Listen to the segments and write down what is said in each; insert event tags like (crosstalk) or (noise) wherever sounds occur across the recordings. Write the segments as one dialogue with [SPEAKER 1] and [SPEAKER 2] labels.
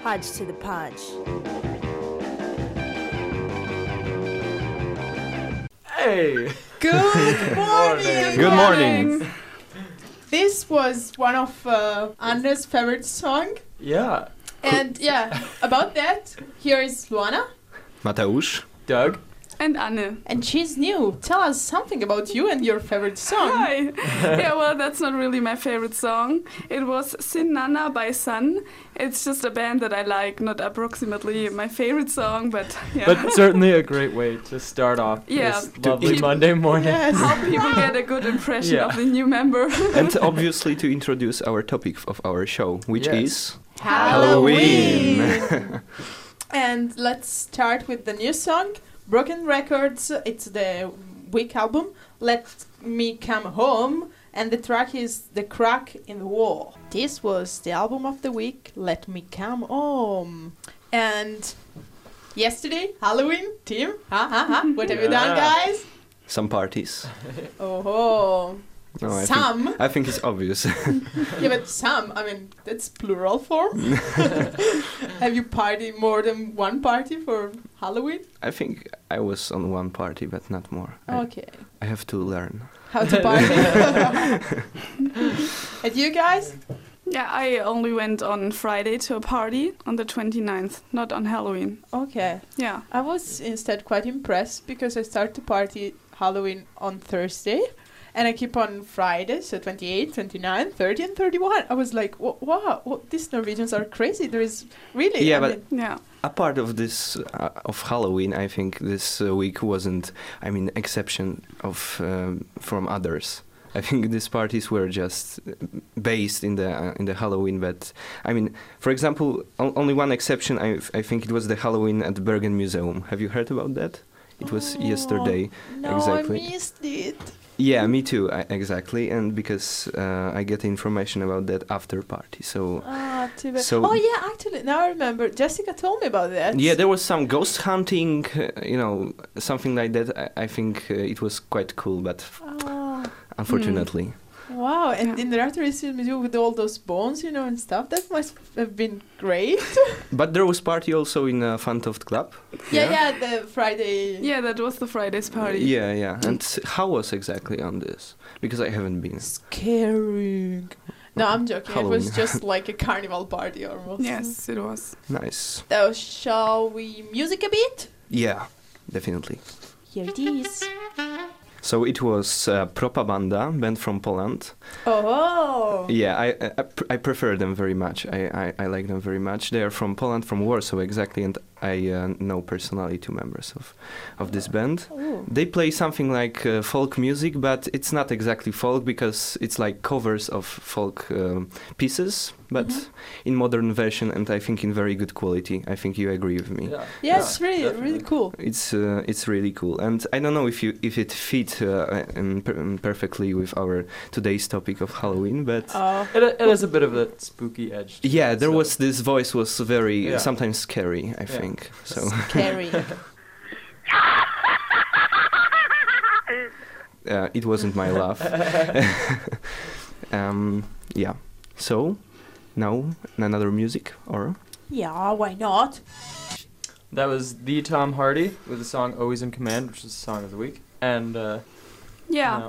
[SPEAKER 1] Hodge to the Podge.
[SPEAKER 2] Hey!
[SPEAKER 3] (laughs)
[SPEAKER 4] Good morning.
[SPEAKER 5] Good morning.
[SPEAKER 4] gang. This was one of uh, Anders' favorite song,
[SPEAKER 2] Yeah.
[SPEAKER 4] and yeah, about that, here is Luana,
[SPEAKER 5] Mateusz.
[SPEAKER 2] Doug?
[SPEAKER 3] And Anne.
[SPEAKER 4] and she's new. Tell us something about you and your favorite song.
[SPEAKER 3] Hi. yeah, well, that's not really my favorite song. It was Sin Nana by Sun. It's just a band that I like, not approximately my favorite song, but yeah.
[SPEAKER 2] But certainly a great way to start off
[SPEAKER 3] Yeah.
[SPEAKER 2] this
[SPEAKER 5] To
[SPEAKER 2] lovely
[SPEAKER 5] eat-
[SPEAKER 2] Monday morning.
[SPEAKER 4] Yes.
[SPEAKER 3] how people get a good impression
[SPEAKER 2] Yeah.
[SPEAKER 3] of the new member. (laughs)
[SPEAKER 5] and obviously to introduce our topic of our show, which
[SPEAKER 2] Yes.
[SPEAKER 5] is
[SPEAKER 4] Halloween. (laughs)
[SPEAKER 5] Halloween.
[SPEAKER 4] And let's start with the new song, Broken Records. It's the week album, Let Me Come Home, and the track is The Crack in the Wall. This was the album of the week, Let Me Come Home. And yesterday, Halloween, Tim, ha ha ha, what have you done,
[SPEAKER 2] Yeah.
[SPEAKER 4] guys?
[SPEAKER 5] Some parties.
[SPEAKER 4] Oh, ho.
[SPEAKER 5] No, Oh, I think,
[SPEAKER 4] some.
[SPEAKER 5] I think it's obvious. (laughs)
[SPEAKER 4] yeah, but some, I mean, that's plural form. have you party more than one party for Halloween?
[SPEAKER 5] I think I was on one party, but not more. I,
[SPEAKER 4] Okay.
[SPEAKER 5] I have to learn.
[SPEAKER 4] How to party.
[SPEAKER 5] (laughs)
[SPEAKER 4] and you guys?
[SPEAKER 3] yeah, I only went on Friday to a party on the 29th, not on Halloween.
[SPEAKER 4] Okay.
[SPEAKER 3] Yeah.
[SPEAKER 4] I was instead quite impressed because I start to party Halloween on Thursday and I keep on Friday, so 28, 29, 30, and 31. I was like, "Wa- wow, wa- these Norwegians are crazy. There is really.
[SPEAKER 5] Yeah,
[SPEAKER 4] I
[SPEAKER 5] but-
[SPEAKER 4] mean,
[SPEAKER 3] Yeah.
[SPEAKER 5] Apart of this uh, of Halloween, I think this uh, week wasn't, I mean, exception of um, from others. I think these parties were just uh, based in the uh, in the Halloween. But I mean, for example, o- only one exception. I, I think it was the Halloween at Bergen Museum. Have you heard about that? It was
[SPEAKER 4] Oh.
[SPEAKER 5] yesterday.
[SPEAKER 4] no,
[SPEAKER 5] exactly.
[SPEAKER 4] I missed it.
[SPEAKER 5] Yeah, me too. I, exactly, and because uh, I get information about that after party. So
[SPEAKER 4] Ah, too bad.
[SPEAKER 5] So-
[SPEAKER 4] oh, yeah, actually, now I remember. Jessica told me about that.
[SPEAKER 5] yeah, there was some ghost hunting, uh, you know, something like that. I, I think uh, it was quite cool, but
[SPEAKER 4] Ah.
[SPEAKER 5] unfortunately,
[SPEAKER 4] Mm. Wow, and
[SPEAKER 3] Yeah.
[SPEAKER 4] in the Raptor Museum with all those bones, you know, and stuff, that must have been
[SPEAKER 5] (laughs)
[SPEAKER 4] great.
[SPEAKER 5] but there was party also in uh, Fantoft Club.
[SPEAKER 4] Yeah, yeah, the Friday.
[SPEAKER 3] Yeah, that was the Friday's party.
[SPEAKER 5] Yeah, yeah. And s- how was exactly on this? Because I haven't been.
[SPEAKER 4] Scary. No, I'm joking. It
[SPEAKER 5] Halloween.
[SPEAKER 4] was
[SPEAKER 5] (laughs)
[SPEAKER 4] just like a carnival party almost.
[SPEAKER 3] Yes, it was.
[SPEAKER 5] Nice.
[SPEAKER 4] So, shall we music a bit?
[SPEAKER 5] Yeah, definitely.
[SPEAKER 4] Here it is.
[SPEAKER 5] So it was uh, Propaganda, band from Poland.
[SPEAKER 4] Oh.
[SPEAKER 5] Yeah, I, I- I, pr- I prefer them very much. I, I, I like them very much. They are from Poland, from Warsaw exactly, and I uh, know personally two members of, of this band.
[SPEAKER 4] Ooh.
[SPEAKER 5] They play something like uh, folk music, but it's not exactly folk because it's like covers of folk um, pieces, but
[SPEAKER 2] Mm-hmm.
[SPEAKER 5] in modern version and I think in very good quality. I think you agree with me.
[SPEAKER 2] Yeah.
[SPEAKER 4] Yeah, it's really, really
[SPEAKER 2] definitely.
[SPEAKER 4] cool.
[SPEAKER 5] It's uh, it's really cool, and I don't know if you if it fit uh, um, per- um, perfectly with our today's topic of Halloween, but (laughs)
[SPEAKER 4] Oh.
[SPEAKER 2] It, it has a bit of a spooky edge. to
[SPEAKER 5] yeah,
[SPEAKER 2] it,
[SPEAKER 5] there
[SPEAKER 2] Uh, so-
[SPEAKER 5] was this voice was very
[SPEAKER 2] Yeah.
[SPEAKER 5] sometimes scary. I
[SPEAKER 2] Yeah.
[SPEAKER 5] think
[SPEAKER 2] (laughs)
[SPEAKER 5] so. (laughs)
[SPEAKER 4] Scary.
[SPEAKER 5] Uh, it wasn't my laugh. (laughs) um, yeah. So now another music or
[SPEAKER 4] yeah, why not?
[SPEAKER 2] That was the Tom Hardy with the song Always in Command, which is the song of the week. And, uh,
[SPEAKER 3] Yeah.
[SPEAKER 4] (laughs)
[SPEAKER 2] you know,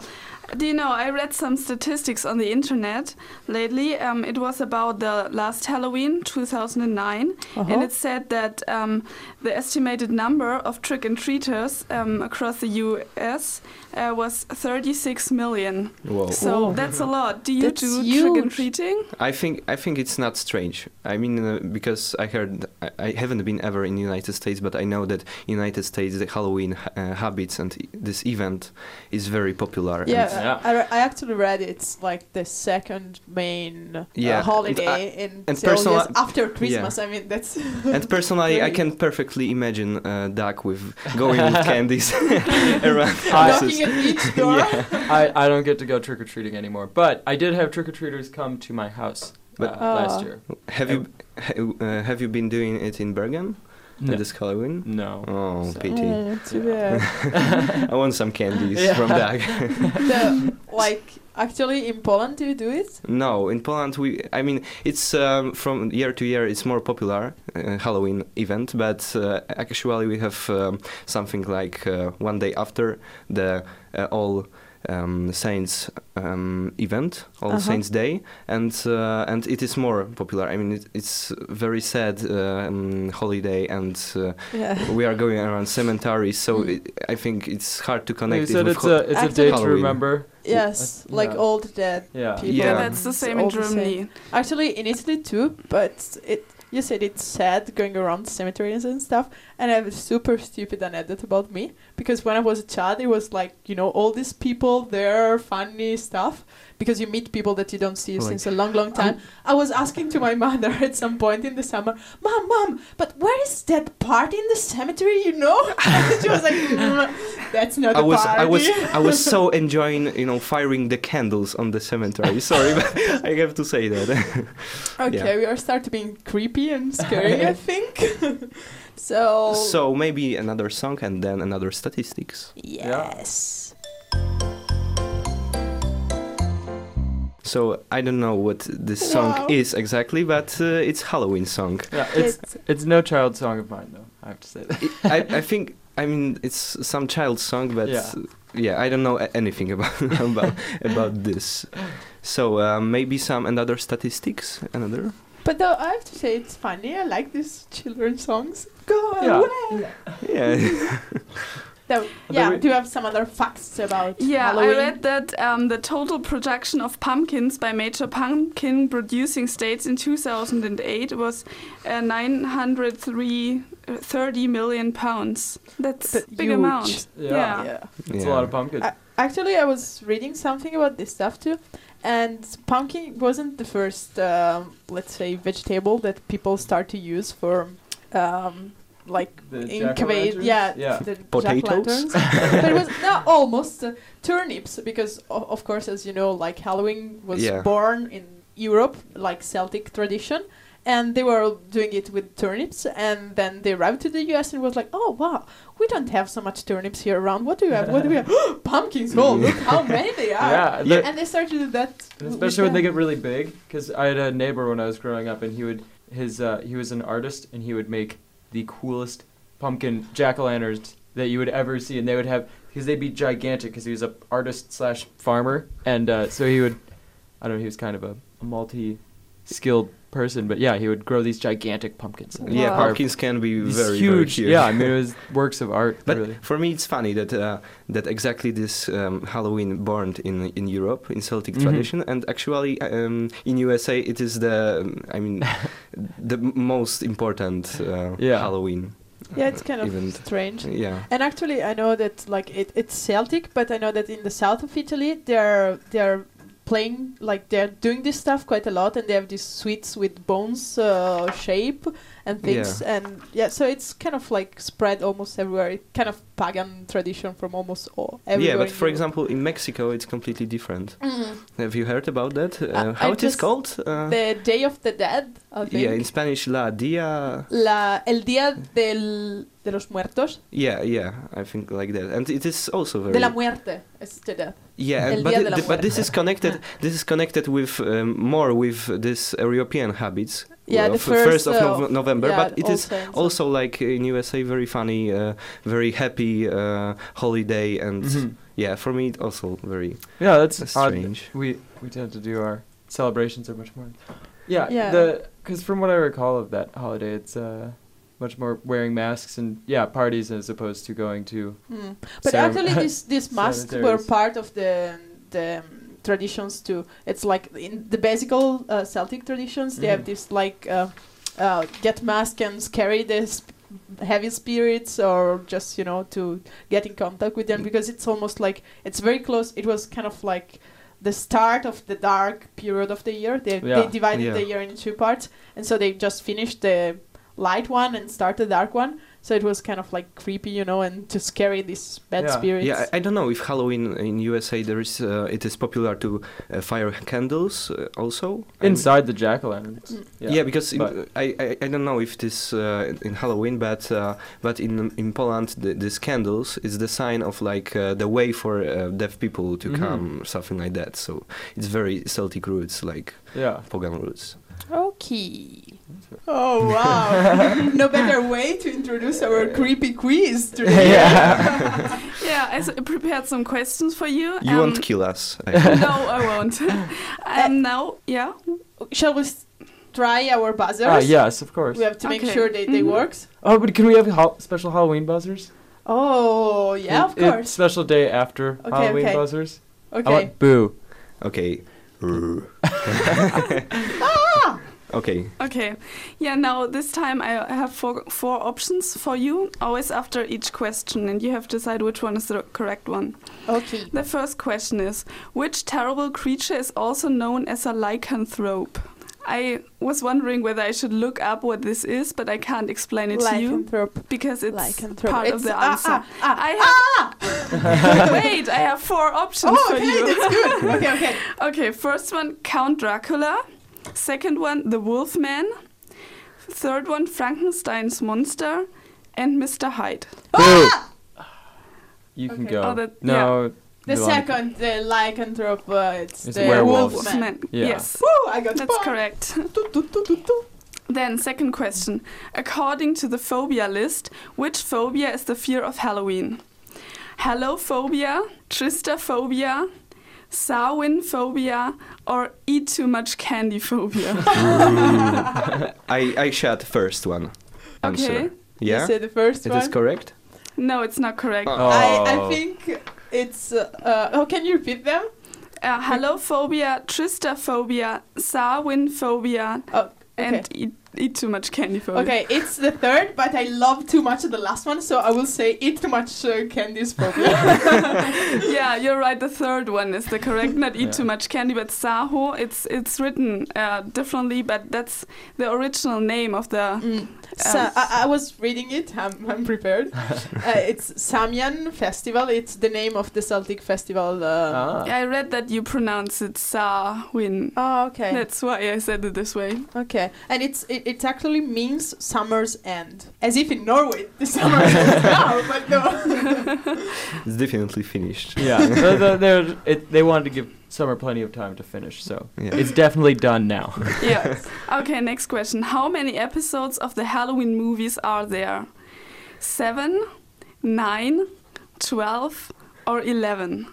[SPEAKER 3] Do you know, I read some statistics on the internet lately. Um, it was about the last Halloween, 2009, and
[SPEAKER 4] Uh-huh.
[SPEAKER 3] it said that um, the estimated number of trick and treaters um, across the US uh, was 36 million.
[SPEAKER 5] whoa.
[SPEAKER 3] So
[SPEAKER 4] Whoa.
[SPEAKER 3] that's a lot. Do you
[SPEAKER 4] Oh. That's
[SPEAKER 3] do
[SPEAKER 4] huge.
[SPEAKER 3] trick and treating?
[SPEAKER 5] I think I think it's not strange. I mean, uh, because I heard I, I haven't been ever in the United States, but I know that United States the Halloween ha- uh, habits and e- this event is very popular. and-
[SPEAKER 4] Yeah,
[SPEAKER 2] Yeah.
[SPEAKER 4] I, I actually read it's like the second main uh,
[SPEAKER 5] Yeah, and
[SPEAKER 4] holiday in
[SPEAKER 5] and
[SPEAKER 4] Seoul,
[SPEAKER 5] personal-
[SPEAKER 4] yes, after Christmas. I mean,
[SPEAKER 5] (laughs)
[SPEAKER 4] that's (laughs)
[SPEAKER 5] And personally, I
[SPEAKER 4] Really?
[SPEAKER 5] can perfectly imagine uh, duck with going with candies (laughs) around houses.
[SPEAKER 4] knocking at
[SPEAKER 5] (laughs)
[SPEAKER 4] each door. (laughs)
[SPEAKER 5] yeah,
[SPEAKER 2] I, I don't get to go trick or treating anymore. But I did have trick or treaters come to my house
[SPEAKER 5] But-
[SPEAKER 2] uh,
[SPEAKER 4] Oh.
[SPEAKER 2] last year.
[SPEAKER 5] have
[SPEAKER 2] (laughs)
[SPEAKER 5] you ha- uh, have you been doing it in Bergen
[SPEAKER 2] No.
[SPEAKER 5] this Halloween?
[SPEAKER 2] No.
[SPEAKER 5] Oh,
[SPEAKER 2] So-
[SPEAKER 5] pity!
[SPEAKER 4] Mm, too
[SPEAKER 5] (laughs)
[SPEAKER 2] Yeah.
[SPEAKER 4] bad.
[SPEAKER 5] I want some candies
[SPEAKER 2] Yeah. (laughs)
[SPEAKER 5] from duck.
[SPEAKER 4] the like actually in Poland do you do it?
[SPEAKER 5] (laughs) No, in Poland we. I mean, it's um, from year to year. It's more popular uh, Halloween event, but uh, actually we have um, something like uh, one day after the uh, all. Um, Saints um, event, All
[SPEAKER 1] Uh-huh.
[SPEAKER 5] Saints Day, and uh, and it is more popular. I mean, it, it's very sad uh, um, holiday, and uh,
[SPEAKER 1] Yeah.
[SPEAKER 5] we are going around cemeteries, so
[SPEAKER 2] Mm.
[SPEAKER 5] it, I think it's hard to
[SPEAKER 2] No,
[SPEAKER 5] connect.
[SPEAKER 2] you
[SPEAKER 5] it
[SPEAKER 2] said
[SPEAKER 5] with
[SPEAKER 2] it's
[SPEAKER 5] ho-
[SPEAKER 2] a it's a
[SPEAKER 4] Actually-
[SPEAKER 2] day to
[SPEAKER 5] Halloween.
[SPEAKER 2] remember.
[SPEAKER 4] Yes,
[SPEAKER 2] Yeah.
[SPEAKER 4] like old dead.
[SPEAKER 2] Yeah.
[SPEAKER 4] People.
[SPEAKER 3] Yeah,
[SPEAKER 5] Yeah.
[SPEAKER 3] that's the
[SPEAKER 4] It's
[SPEAKER 3] same
[SPEAKER 4] all
[SPEAKER 3] in
[SPEAKER 4] the same.
[SPEAKER 3] Germany.
[SPEAKER 4] Actually, in Italy too, but it you said it's sad going around cemeteries and stuff. And I have a super stupid anecdote about me because when I was a child, it was like you know all these people, their funny stuff. Because you meet people that you don't see
[SPEAKER 5] Like- oh.
[SPEAKER 4] since a long, long time. I was asking to my (laughs) mother at some point in the summer, "Mom, mom, but where is that party in the cemetery? You know?" (laughs) And she was like, "Mm, "That's not
[SPEAKER 5] I
[SPEAKER 4] a
[SPEAKER 5] was
[SPEAKER 4] party."
[SPEAKER 5] I was I was so enjoying you know firing the candles on the cemetery. Sorry, but (laughs) I have to say that.
[SPEAKER 4] (laughs)
[SPEAKER 5] (laughs)
[SPEAKER 4] Okay, we are starting being creepy and scary, I think. (laughs) so,
[SPEAKER 5] so maybe another song and then another statistics.
[SPEAKER 4] yes.
[SPEAKER 5] So I don't know what this song
[SPEAKER 4] Wow.
[SPEAKER 5] is exactly, but uh, it's
[SPEAKER 4] (laughs)
[SPEAKER 5] Halloween song.
[SPEAKER 2] Yeah, it's it's no child song of mine though. I have to say
[SPEAKER 5] (laughs)
[SPEAKER 2] that.
[SPEAKER 5] I, I think I mean it's some child song, but
[SPEAKER 2] Yeah.
[SPEAKER 5] yeah, I don't know a- anything (laughs) about about about this. So uh, maybe some another statistics, another.
[SPEAKER 4] But though I have to say it's funny. I like these children's songs. Go
[SPEAKER 2] Yeah.
[SPEAKER 4] away.
[SPEAKER 5] Yeah,
[SPEAKER 4] Though,
[SPEAKER 2] But
[SPEAKER 4] yeah.
[SPEAKER 2] we-
[SPEAKER 4] Do you have some other facts about
[SPEAKER 3] Yeah,
[SPEAKER 4] Halloween?
[SPEAKER 3] I read that um, the total production of pumpkins by major pumpkin producing states in 2008 was uh, 930 uh, million pounds. That's
[SPEAKER 4] That's
[SPEAKER 3] big
[SPEAKER 4] huge.
[SPEAKER 3] (laughs) amount.
[SPEAKER 2] Yeah.
[SPEAKER 3] Yeah.
[SPEAKER 2] (laughs) It's
[SPEAKER 5] Yeah.
[SPEAKER 2] a lot of pumpkins.
[SPEAKER 4] I- actually, I was reading something about this stuff too, and pumpkin wasn't the first, um, let's say, vegetable that people start to use for, um, like
[SPEAKER 2] The
[SPEAKER 4] incubate,
[SPEAKER 2] jack-o'-lanterns?
[SPEAKER 4] yeah,
[SPEAKER 2] Yeah.
[SPEAKER 4] the
[SPEAKER 5] Potatoes? (laughs)
[SPEAKER 4] jack-lanterns. but it was not almost uh, turnips because o- of course, as you know, like Halloween was
[SPEAKER 5] Yeah.
[SPEAKER 4] born in Europe, like Celtic tradition. And they were doing it with turnips, and then they arrived to the U.S. and was like, "Oh wow, we don't have so much turnips here around. What do we have? What do we have?
[SPEAKER 2] (laughs)
[SPEAKER 4] (gasps) Pumpkins! Oh, look how many they are!"
[SPEAKER 2] Yeah,
[SPEAKER 5] Yeah.
[SPEAKER 2] the-
[SPEAKER 4] And they started to do that,
[SPEAKER 2] and
[SPEAKER 4] w- with
[SPEAKER 2] especially when they
[SPEAKER 4] them.
[SPEAKER 2] get really big. Because I had a neighbor when I was growing up, and he would his uh, he was an artist, and he would make the coolest pumpkin jack o' lanterns that you would ever see, and they would have because they'd be gigantic because he was a artist slash farmer, and uh, so he would I don't know he was kind of a, a multi skilled person, but yeah, he would grow these gigantic pumpkins. and
[SPEAKER 5] yeah.
[SPEAKER 2] carve
[SPEAKER 5] Pumpkins can be
[SPEAKER 2] these
[SPEAKER 5] very
[SPEAKER 2] huge,
[SPEAKER 5] Very huge.
[SPEAKER 2] yeah. I mean, it was works of art.
[SPEAKER 5] But
[SPEAKER 2] really.
[SPEAKER 5] for me, it's funny that uh, that exactly this um, Halloween burned in in Europe in Celtic
[SPEAKER 4] Mm-hmm.
[SPEAKER 2] Mhm.
[SPEAKER 5] tradition, and actually um, in USA it is the um, I
[SPEAKER 4] (laughs)
[SPEAKER 5] mean the m- most important uh,
[SPEAKER 2] Yeah.
[SPEAKER 5] Halloween.
[SPEAKER 4] yeah, it's kind of
[SPEAKER 5] even-
[SPEAKER 4] strange.
[SPEAKER 5] Yeah,
[SPEAKER 4] And actually, I know that like it, it's Celtic, but I know that in the south of Italy, they're they're playing like they're doing this stuff quite a lot, and they have these sweets with bones uh, shape and things, and yeah, so it's kind of like spread almost everywhere. It kind of pagan tradition from almost all everywhere.
[SPEAKER 5] yeah. But
[SPEAKER 4] in
[SPEAKER 5] for
[SPEAKER 4] Europe.
[SPEAKER 5] example, in Mexico it's completely different.
[SPEAKER 4] Mm.
[SPEAKER 5] Have you heard about that? Uh,
[SPEAKER 4] I-
[SPEAKER 5] how
[SPEAKER 4] I
[SPEAKER 5] it is
[SPEAKER 4] just-
[SPEAKER 5] called? Uh,
[SPEAKER 4] the Day of the Dead, I think.
[SPEAKER 5] yeah, in Spanish, La Dia.
[SPEAKER 4] La, el Día del, de los Muertos,
[SPEAKER 5] Yeah, yeah, I think like that, and it is also very
[SPEAKER 4] de la muerte, is the death.
[SPEAKER 5] Yeah,
[SPEAKER 4] El
[SPEAKER 5] and, but,
[SPEAKER 4] Día
[SPEAKER 5] thi-
[SPEAKER 4] de la
[SPEAKER 5] thi- but this
[SPEAKER 4] (laughs)
[SPEAKER 5] is connected. This is connected with um, more with this European habits.
[SPEAKER 4] Yeah,
[SPEAKER 5] of
[SPEAKER 4] the first,
[SPEAKER 5] first of
[SPEAKER 4] uh,
[SPEAKER 5] Nov November.
[SPEAKER 4] yeah,
[SPEAKER 5] but it
[SPEAKER 4] All
[SPEAKER 5] is
[SPEAKER 4] Saints.
[SPEAKER 5] also like in USA very funny, uh, very happy uh, holiday, and
[SPEAKER 2] Mhm.
[SPEAKER 5] yeah, for me it also very
[SPEAKER 2] Yeah, that's, odd.
[SPEAKER 5] strange.
[SPEAKER 2] We we tend to do our celebrations are much more. Yeah,
[SPEAKER 4] Yeah.
[SPEAKER 2] The because from what I recall of that holiday, it's uh, much more wearing masks and yeah parties as opposed to going to.
[SPEAKER 4] Mm. But
[SPEAKER 2] Cerem- (laughs)
[SPEAKER 4] actually, these these masks were
[SPEAKER 2] cemeteries.
[SPEAKER 4] part of the the um, traditions too. It's like in the basic uh, Celtic traditions, they have
[SPEAKER 2] Mhm.
[SPEAKER 4] this like uh, uh, get mask and carry the sp- heavy spirits, or just you know to get in contact with them because it's almost like it's very close. It was kind of like the start of the dark period of the year. They,
[SPEAKER 2] Yeah.
[SPEAKER 4] they divided
[SPEAKER 5] Yeah.
[SPEAKER 4] the year in two parts, and so they just finished the light one and started the dark one. So it was kind of like creepy, you know, and to scary these bad
[SPEAKER 2] Yeah.
[SPEAKER 4] spirits.
[SPEAKER 5] Yeah, I, I don't know if Halloween in USA there is. Uh, it is popular to uh, fire candles uh, also I'm-
[SPEAKER 2] Inside the jack o' lanterns.
[SPEAKER 4] Mm.
[SPEAKER 5] Yeah, because in,
[SPEAKER 2] but-
[SPEAKER 5] I, I I don't know if this uh, in Halloween, but uh, but in in Poland the, these candles is the sign of like uh, the way for uh, deaf people to
[SPEAKER 2] Mhm.
[SPEAKER 5] come, something like that. So it's very Celtic roots, like
[SPEAKER 2] Yeah.
[SPEAKER 5] pagan roots.
[SPEAKER 4] Okay. Oh wow! (laughs) no better way to introduce our creepy quiz today.
[SPEAKER 2] (laughs) Yeah.
[SPEAKER 3] Yeah, I s- prepared some questions for you.
[SPEAKER 5] You
[SPEAKER 3] um, (laughs)
[SPEAKER 5] won't kill us. I hope.
[SPEAKER 3] No, I
[SPEAKER 5] (laughs)
[SPEAKER 3] won't. um, now, yeah.
[SPEAKER 4] Shall we s- try our buzzers?
[SPEAKER 2] Ah, yes, of course.
[SPEAKER 4] We have to make
[SPEAKER 3] Okay.
[SPEAKER 4] sure they, they
[SPEAKER 3] Mhm.
[SPEAKER 4] works.
[SPEAKER 2] Oh, but can we have hol- special Halloween buzzers?
[SPEAKER 4] Oh yeah,
[SPEAKER 2] It-
[SPEAKER 4] of
[SPEAKER 2] it-
[SPEAKER 4] course.
[SPEAKER 2] special day after
[SPEAKER 4] Okay,
[SPEAKER 2] Halloween
[SPEAKER 4] okay.
[SPEAKER 2] buzzers. I
[SPEAKER 4] Okay.
[SPEAKER 2] want boo.
[SPEAKER 5] okay. (laughs) Rrr. okay.
[SPEAKER 3] Okay. Yeah, now this time I have four, four options for you, always after each question, and you have to decide which one is the correct one.
[SPEAKER 4] Okay.
[SPEAKER 3] The first question is Which terrible creature is also known as a lycanthrope? I was wondering whether I should look up what this is, but I can't explain it to you
[SPEAKER 4] Lycanthrope.
[SPEAKER 3] because it's
[SPEAKER 4] Lycanthrope.
[SPEAKER 3] part
[SPEAKER 4] it's,
[SPEAKER 3] of the
[SPEAKER 4] ah,
[SPEAKER 3] answer.
[SPEAKER 4] Ah, ah,
[SPEAKER 3] I
[SPEAKER 4] ah!
[SPEAKER 3] (laughs) Wait, I have four options
[SPEAKER 4] Oh,
[SPEAKER 3] for
[SPEAKER 4] okay,
[SPEAKER 3] you.
[SPEAKER 4] that's good.
[SPEAKER 3] (laughs)
[SPEAKER 4] Okay, okay.
[SPEAKER 3] Okay, first one Count Dracula. Second one The Wolfman. Third one Frankenstein's Monster. And Mr. Hyde.
[SPEAKER 2] Boo.
[SPEAKER 4] Ah,
[SPEAKER 2] You can
[SPEAKER 4] Okay.
[SPEAKER 2] go.
[SPEAKER 3] Oh, that-
[SPEAKER 2] no.
[SPEAKER 4] The
[SPEAKER 2] you want-
[SPEAKER 4] second, the lycanthrope, uh, it's,
[SPEAKER 2] It's
[SPEAKER 4] the
[SPEAKER 2] werewolves.
[SPEAKER 4] wolf man.
[SPEAKER 3] Wolfman.
[SPEAKER 2] Yeah.
[SPEAKER 3] Yes.
[SPEAKER 4] Woo, I got
[SPEAKER 3] That's
[SPEAKER 4] points.
[SPEAKER 3] correct.
[SPEAKER 4] Tu, tu, tu, tu, tu.
[SPEAKER 3] Then, second question. According to the phobia list, which phobia is the fear of Halloween? Hallophobia, Tristophobia, Samhain phobia, or eat too much candy phobia?
[SPEAKER 4] (laughs)
[SPEAKER 5] I I shot first one.
[SPEAKER 3] okay.
[SPEAKER 5] Answer.
[SPEAKER 4] You
[SPEAKER 5] Yeah.
[SPEAKER 4] said the first
[SPEAKER 5] It
[SPEAKER 4] one.
[SPEAKER 5] is correct.
[SPEAKER 3] No, it's not correct.
[SPEAKER 5] Oh.
[SPEAKER 4] I, I
[SPEAKER 2] Oh.
[SPEAKER 4] think it's. Uh, uh, oh, can you repeat them?
[SPEAKER 3] Uh, halophobia, tristophobia, sarwinphobia,
[SPEAKER 4] Oh, okay.
[SPEAKER 3] and eat, eat too much candy phobia.
[SPEAKER 4] Okay, it's the third, but I love too much the last one, so I will say eat too much uh, candies
[SPEAKER 3] (laughs)
[SPEAKER 4] phobia.
[SPEAKER 3] yeah, you're right. The third one is the correct. Not eat
[SPEAKER 2] Yeah.
[SPEAKER 3] too much candy, but saho. It's it's written uh, differently, but that's the original name of the.
[SPEAKER 4] Mm. So I, I was reading it. I'm, I'm
[SPEAKER 5] (laughs)
[SPEAKER 4] prepared. Uh, it's Samyan Festival. It's the name of the Celtic festival. Uh,
[SPEAKER 2] Ah.
[SPEAKER 3] I read that you pronounce it sawin.
[SPEAKER 4] Oh, okay.
[SPEAKER 3] That's why I said it this way.
[SPEAKER 2] (laughs)
[SPEAKER 4] Okay, and it's it, it actually means summer's end, as if in Norway the summer
[SPEAKER 5] (laughs)
[SPEAKER 4] (laughs) ends now, but no. (laughs)
[SPEAKER 5] It's definitely finished.
[SPEAKER 2] Yeah. the, the, (laughs) they're- it, they wanted to give Summer plenty of time to finish, so
[SPEAKER 5] Yeah.
[SPEAKER 2] it's definitely done (laughs) now.
[SPEAKER 3] yeah. Okay, next question. How many episodes of the Halloween movies are there? Seven, nine, twelve, or eleven?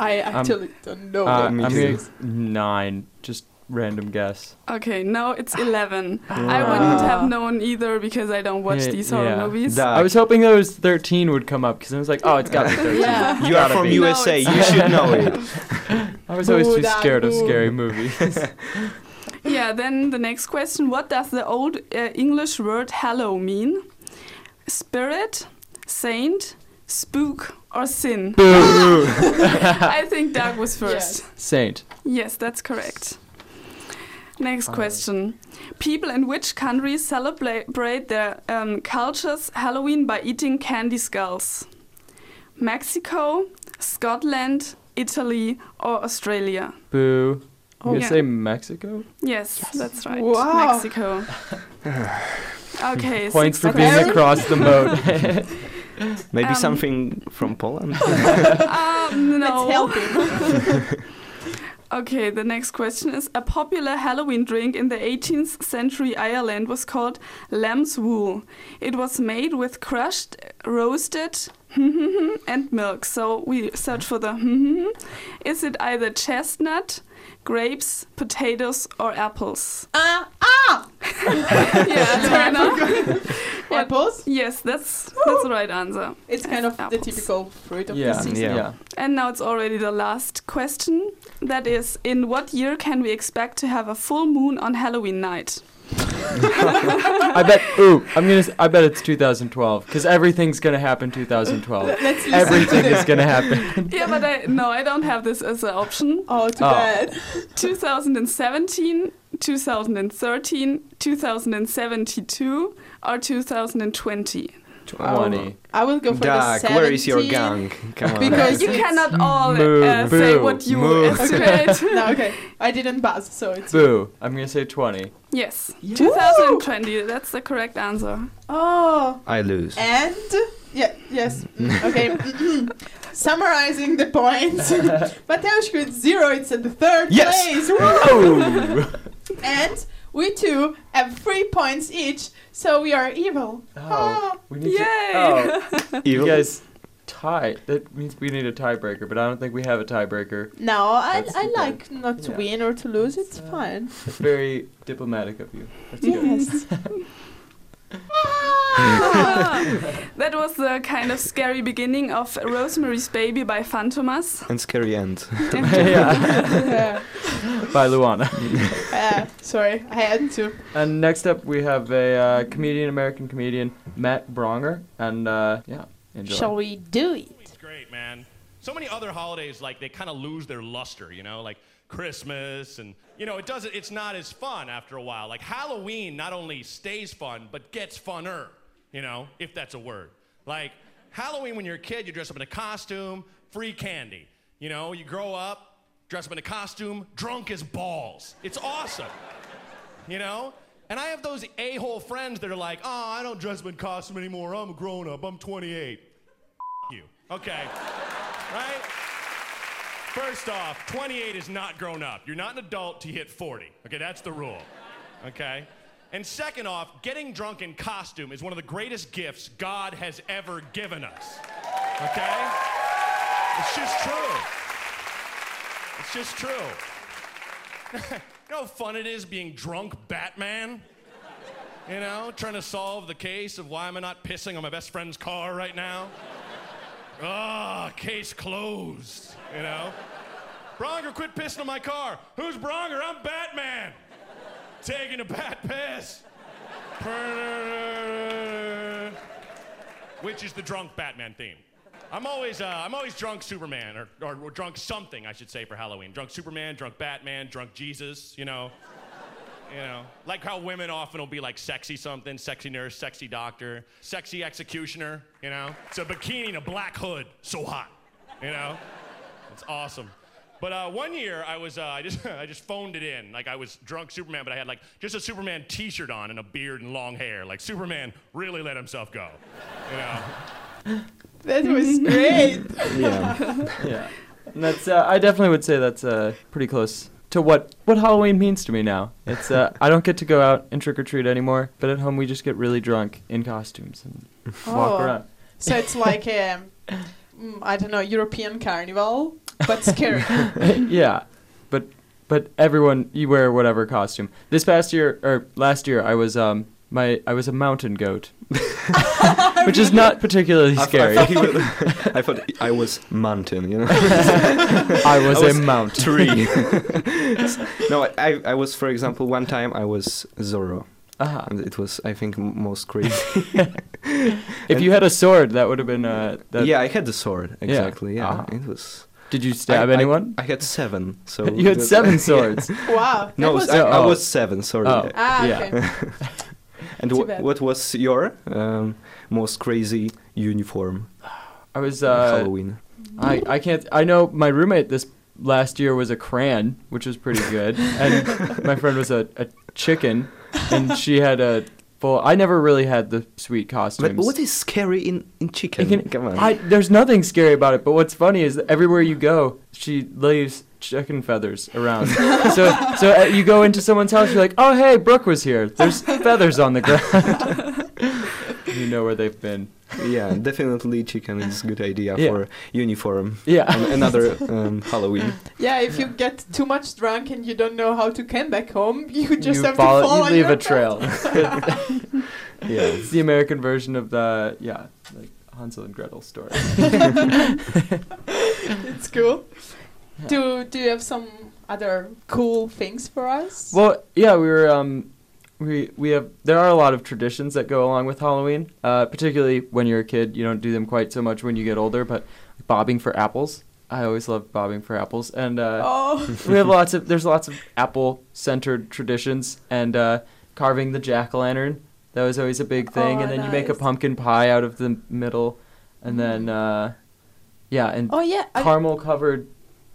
[SPEAKER 4] I actually don't know.
[SPEAKER 2] Uh,
[SPEAKER 5] Um, me
[SPEAKER 2] I'm
[SPEAKER 5] too.
[SPEAKER 2] gonna nine. Just random guess.
[SPEAKER 3] Okay, no, it's eleven. I
[SPEAKER 2] Ah.
[SPEAKER 3] wouldn't have known either because I don't watch
[SPEAKER 2] Yeah,
[SPEAKER 3] these horror
[SPEAKER 2] yeah.
[SPEAKER 3] movies.
[SPEAKER 5] Da-
[SPEAKER 2] I was hoping that was 13 would come up because I was like, oh, it's got to be 13.
[SPEAKER 4] Yeah.
[SPEAKER 5] (laughs) You are
[SPEAKER 2] Gotta
[SPEAKER 5] from
[SPEAKER 2] be.
[SPEAKER 3] No,
[SPEAKER 5] USA.
[SPEAKER 3] it's-
[SPEAKER 5] you should know it.
[SPEAKER 2] I was always
[SPEAKER 4] Boo,
[SPEAKER 2] too
[SPEAKER 4] Dad,
[SPEAKER 2] scared of
[SPEAKER 4] boo.
[SPEAKER 2] scary (laughs) movies.
[SPEAKER 3] yeah, then the next question What does the old uh, English word hallow mean? Spirit, saint, spook, or sin?
[SPEAKER 2] (laughs)
[SPEAKER 3] I think Doug was first.
[SPEAKER 4] Yes.
[SPEAKER 2] Saint.
[SPEAKER 3] Yes, that's correct. Next
[SPEAKER 2] Alright.
[SPEAKER 3] question. People in which countries celebrate their um, cultures Halloween by eating candy skulls? Mexico, Scotland, Italy, or Australia?
[SPEAKER 2] Boo.
[SPEAKER 3] Oh.
[SPEAKER 2] You
[SPEAKER 3] Yeah.
[SPEAKER 2] say Mexico?
[SPEAKER 3] Yes, that's right.
[SPEAKER 4] Wow. (sighs)
[SPEAKER 3] Mexico. okay,
[SPEAKER 2] Points for
[SPEAKER 3] sixth
[SPEAKER 2] being
[SPEAKER 4] Okay.
[SPEAKER 2] across the (laughs)
[SPEAKER 3] (laughs)
[SPEAKER 2] moat.
[SPEAKER 5] Maybe
[SPEAKER 3] Um,
[SPEAKER 5] something from
[SPEAKER 2] (laughs)
[SPEAKER 5] Poland.
[SPEAKER 3] um, no.
[SPEAKER 4] Let's help him.
[SPEAKER 3] (laughs) Okay, the next question is a popular Halloween drink in the 18th century Ireland was called lamb's wool. It was made with crushed, roasted, (laughs) and milk. So we search for the. (laughs) is it either chestnut, grapes, potatoes, or apples?
[SPEAKER 4] Ah, (laughs) ah! (laughs)
[SPEAKER 3] yeah, Lorena? What?
[SPEAKER 4] Apples.
[SPEAKER 3] Yes, that's that's the right answer.
[SPEAKER 4] It's kind of the
[SPEAKER 3] Apples.
[SPEAKER 4] typical fruit of the
[SPEAKER 2] yeah,
[SPEAKER 4] season.
[SPEAKER 5] Yeah.
[SPEAKER 2] yeah.
[SPEAKER 3] And now it's already the last question. That is, in what year can we expect to have a full moon on Halloween night?
[SPEAKER 2] I bet. Ooh, I'm gonna. s- I bet it's 2012 because everything's gonna happen 2012.
[SPEAKER 4] Let- Let's listen
[SPEAKER 2] Everything
[SPEAKER 4] to
[SPEAKER 2] is
[SPEAKER 4] them.
[SPEAKER 2] gonna happen.
[SPEAKER 3] Yeah, but I no, I don't have this as an option.
[SPEAKER 4] Oh, too
[SPEAKER 2] Oh.
[SPEAKER 5] Ah.
[SPEAKER 4] bad.
[SPEAKER 3] 2017, 2013, 2072, or 2020.
[SPEAKER 2] Twenty.
[SPEAKER 4] I will go for
[SPEAKER 5] Doug,
[SPEAKER 4] the 17.
[SPEAKER 5] where is your gang? Come on.
[SPEAKER 4] Because
[SPEAKER 3] you
[SPEAKER 4] it's-
[SPEAKER 3] cannot all
[SPEAKER 2] Moo,
[SPEAKER 3] uh, say
[SPEAKER 2] boo,
[SPEAKER 3] what you
[SPEAKER 5] moo.
[SPEAKER 4] (laughs)
[SPEAKER 3] estimate.
[SPEAKER 4] (laughs) no, okay. I didn't buzz, so it's.
[SPEAKER 2] Boo. I'm gonna say twenty.
[SPEAKER 3] yes,
[SPEAKER 2] Yeah.
[SPEAKER 3] 2020. That's the correct answer.
[SPEAKER 4] Oh.
[SPEAKER 5] (laughs) I lose.
[SPEAKER 4] And yeah,
[SPEAKER 2] (laughs)
[SPEAKER 4] yes. mm, Okay. Summarizing the points,
[SPEAKER 2] (laughs)
[SPEAKER 4] Mateusz with zero. It's at the third
[SPEAKER 5] Yes.
[SPEAKER 4] place.
[SPEAKER 2] Oh.
[SPEAKER 4] (laughs) and we two have three points each, so we are evil. Ah.
[SPEAKER 2] Oh, we need to.
[SPEAKER 3] Yay!
[SPEAKER 2] Oh, (laughs) you
[SPEAKER 5] Evil.
[SPEAKER 2] guys tie. That means we need a tiebreaker, but I don't think we have a tiebreaker.
[SPEAKER 4] No, I,
[SPEAKER 2] That's
[SPEAKER 4] I
[SPEAKER 2] okay.
[SPEAKER 4] like not to
[SPEAKER 2] Yeah.
[SPEAKER 4] win or to lose. It's
[SPEAKER 2] Uh, (laughs)
[SPEAKER 4] fine.
[SPEAKER 2] It's very diplomatic of you. Let's do it.
[SPEAKER 4] (laughs) Yes.
[SPEAKER 3] that was the kind of scary beginning of Rosemary's Baby by Fantomas.
[SPEAKER 5] And scary
[SPEAKER 2] (laughs)
[SPEAKER 5] end.
[SPEAKER 2] yeah. (laughs)
[SPEAKER 4] yeah.
[SPEAKER 2] By Luana. (laughs)
[SPEAKER 4] Uh, sorry, I had to.
[SPEAKER 2] And next up, we have a uh, comedian, American comedian, Matt Bronger, and uh, yeah, enjoy.
[SPEAKER 4] Shall we do it?
[SPEAKER 1] It's great, man. So many other holidays, like they kind of lose their luster, you know, like Christmas, and you know, it doesn't. It's not as fun after a while. Like Halloween, not only stays fun, but gets funner, you know, if that's a word. Like Halloween, when you're a kid, you dress up in a costume, free candy. You know, you grow up, dress up in a costume, drunk as balls. It's awesome you know? And I have those a hole friends that are like, oh, I don't dress up in costume anymore. I'm a grown up. I'm 28. you. Okay. right? First off, 28 is not grown up. You're not an adult till you hit 40. Okay, that's the rule. Okay? And second off, getting drunk in costume is one of the greatest gifts God has ever given us. Okay? It's just true. It's just true. (laughs) You know how fun it is being drunk Batman? You know, trying to solve the case of why am I not pissing on my best friend's car right now? Ah, case closed, you know? Bronger, quit pissing on my car. Who's Bronger? I'm Batman. Taking a bat piss. Which is the drunk Batman theme. I'm always, uh, I'm always drunk Superman, or, or, or drunk something, I should say, for Halloween. Drunk Superman, drunk Batman, drunk Jesus, you know? You know, like how women often will be like sexy something, sexy nurse, sexy doctor, sexy executioner, you know? It's a bikini and a black hood, so hot, you know? It's awesome. But uh, one year I was, uh, I just, (laughs) I just phoned it in. Like I was drunk Superman, but I had like just a Superman t-shirt on and a beard and long hair. Like Superman really let himself go, you know?
[SPEAKER 4] That was great.
[SPEAKER 5] (laughs) yeah.
[SPEAKER 2] Yeah, and that's. Uh, I definitely would say that's uh, pretty close to what what Halloween means to me now. It's. Uh, I don't get to go out and trick or treat anymore, but at home we just get really drunk in costumes and walk
[SPEAKER 4] Oh.
[SPEAKER 2] around.
[SPEAKER 4] So it's like um, mm, I don't know European carnival, but scary.
[SPEAKER 2] (laughs) yeah, but but everyone you wear whatever costume. This past year or last year, I was um my I was a mountain goat, (laughs) which
[SPEAKER 5] (laughs)
[SPEAKER 2] is not particularly
[SPEAKER 5] I,
[SPEAKER 2] scary.
[SPEAKER 5] thought he would- I thought I was mountain, you know.
[SPEAKER 2] (laughs) I was,
[SPEAKER 5] I was-
[SPEAKER 2] a mountain.
[SPEAKER 5] Tree. (laughs) no, I, I, I was, for example, one time I was Zorro.
[SPEAKER 2] Ah,
[SPEAKER 5] And it was, I think, m- most crazy.
[SPEAKER 2] if you had a sword, that would have been uh. (laughs) That,
[SPEAKER 5] yeah, I had the sword. Exactly. Yeah.
[SPEAKER 2] Ah.
[SPEAKER 5] It was.
[SPEAKER 2] Did you stab
[SPEAKER 5] I, I-
[SPEAKER 2] anyone?
[SPEAKER 5] (laughs) I, had seven. So
[SPEAKER 2] (laughs) you had
[SPEAKER 5] that-
[SPEAKER 2] seven
[SPEAKER 5] (laughs) yeah.
[SPEAKER 2] swords.
[SPEAKER 4] wow.
[SPEAKER 5] No,
[SPEAKER 4] that was
[SPEAKER 5] I, I
[SPEAKER 2] Oh.
[SPEAKER 5] was seven. Sorry.
[SPEAKER 2] Oh.
[SPEAKER 4] ah,
[SPEAKER 2] yeah.
[SPEAKER 4] okay.
[SPEAKER 5] And
[SPEAKER 4] Too
[SPEAKER 5] wha-
[SPEAKER 4] bad.
[SPEAKER 5] what was your um, most crazy uniform
[SPEAKER 2] I was
[SPEAKER 5] on
[SPEAKER 2] uh.
[SPEAKER 5] Halloween?
[SPEAKER 2] I, I can't. I know my roommate this last year was a crayon, which was pretty good, and my friend was a, a chicken, and she had a full. I never really had the sweet costumes.
[SPEAKER 5] But what is scary in, in chicken?
[SPEAKER 2] It can-
[SPEAKER 5] Come on.
[SPEAKER 2] I, there's nothing scary about it, but what's funny is that everywhere you go, she leaves chicken feathers around. so so uh, you go into someone's house, you're like, oh hey, Brooke was here. There's feathers on the ground. (laughs) you know where they've been.
[SPEAKER 5] yeah, definitely chicken is a good idea
[SPEAKER 2] Yeah.
[SPEAKER 5] for uniform.
[SPEAKER 2] Yeah.
[SPEAKER 5] An- another um,
[SPEAKER 2] (laughs)
[SPEAKER 5] Halloween.
[SPEAKER 4] Yeah, if you get too much drunk and you don't know how to come back home, you just
[SPEAKER 2] you
[SPEAKER 4] have
[SPEAKER 2] follow,
[SPEAKER 4] to fall
[SPEAKER 2] you
[SPEAKER 4] on
[SPEAKER 2] leave
[SPEAKER 4] your
[SPEAKER 2] a trail. (laughs)
[SPEAKER 5] Yeah.
[SPEAKER 2] It's the American version of the yeah, like Hansel and Gretel story.
[SPEAKER 4] (laughs) bed. It's cool. Do Do you have some other cool things for us?
[SPEAKER 2] well, yeah, we were um, we we have there are a lot of traditions that go along with Halloween. Uh, particularly when you're a kid, you don't do them quite so much when you get older. But bobbing for apples, I always loved bobbing for apples, and uh, (laughs)
[SPEAKER 4] oh,
[SPEAKER 2] we have lots of there's lots of apple centered traditions and uh, carving the jack o' lantern. That was always a big thing.
[SPEAKER 4] Oh,
[SPEAKER 2] and then you make a
[SPEAKER 4] nice. Mm-hmm.
[SPEAKER 2] pumpkin pie out of the middle, and then uh, yeah, and
[SPEAKER 4] Oh yeah. I-
[SPEAKER 2] caramel covered,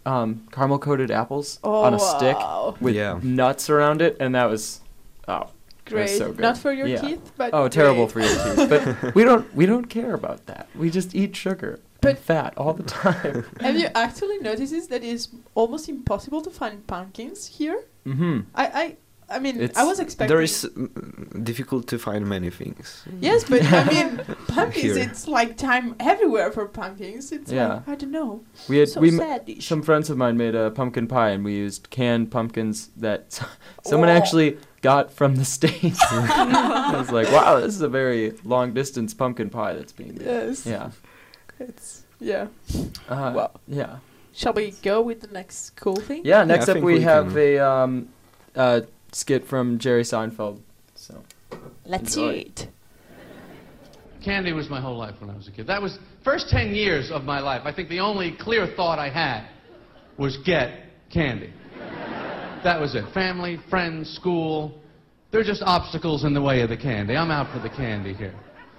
[SPEAKER 2] um, caramel coated apples
[SPEAKER 4] oh,
[SPEAKER 2] on a stick
[SPEAKER 4] wow.
[SPEAKER 2] with
[SPEAKER 5] Yeah.
[SPEAKER 2] nuts around it, and that was oh
[SPEAKER 4] Great.
[SPEAKER 2] so good.
[SPEAKER 4] Not for your
[SPEAKER 2] Yeah.
[SPEAKER 4] teeth, but
[SPEAKER 2] oh terrible
[SPEAKER 4] great.
[SPEAKER 2] for your teeth. But (laughs) we don't we don't care about that. We just eat sugar
[SPEAKER 4] But-
[SPEAKER 2] and fat all the time.
[SPEAKER 4] (laughs) Have you actually noticed that it's almost impossible to find pumpkins here?
[SPEAKER 2] mm-hmm.
[SPEAKER 4] I I, I mean, I
[SPEAKER 2] It's-
[SPEAKER 4] was expecting.
[SPEAKER 5] There is mm, difficult to find many things.
[SPEAKER 4] Yes, but I
[SPEAKER 2] (laughs)
[SPEAKER 4] mean, pumpkins.
[SPEAKER 5] Here.
[SPEAKER 4] It's like time everywhere for pumpkins. It's
[SPEAKER 2] Yeah.
[SPEAKER 4] like I don't know.
[SPEAKER 2] We had
[SPEAKER 4] so
[SPEAKER 2] we. m-
[SPEAKER 4] sad.
[SPEAKER 2] Some friends of mine made a pumpkin pie, and we used canned pumpkins that (laughs) s- someone
[SPEAKER 4] Oh.
[SPEAKER 2] actually got from the
[SPEAKER 4] (laughs)
[SPEAKER 2] states. I was like, "Wow, this is a very long-distance pumpkin pie that's being made."
[SPEAKER 4] yes.
[SPEAKER 2] Yeah.
[SPEAKER 4] It's yeah.
[SPEAKER 2] Uh,
[SPEAKER 4] Wow.
[SPEAKER 2] Yeah.
[SPEAKER 4] Shall we go with the next cool thing?
[SPEAKER 2] Yeah. Next
[SPEAKER 5] I
[SPEAKER 2] up,
[SPEAKER 5] think
[SPEAKER 2] we,
[SPEAKER 5] we
[SPEAKER 2] have
[SPEAKER 5] can-
[SPEAKER 2] a um, uh, skit from Jerry Seinfeld. So
[SPEAKER 4] Let's
[SPEAKER 2] Enjoy.
[SPEAKER 4] see it.
[SPEAKER 6] Candy was my whole life when I was a kid. That was first 10 years of my life. I think the only clear thought I had was get candy. That was it. Family, friends, school. They're just obstacles in the way of the candy. I'm out for the candy here.